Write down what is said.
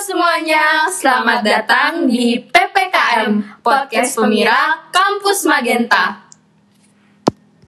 semuanya, selamat datang di PPKM Podcast Pemira Kampus Magenta.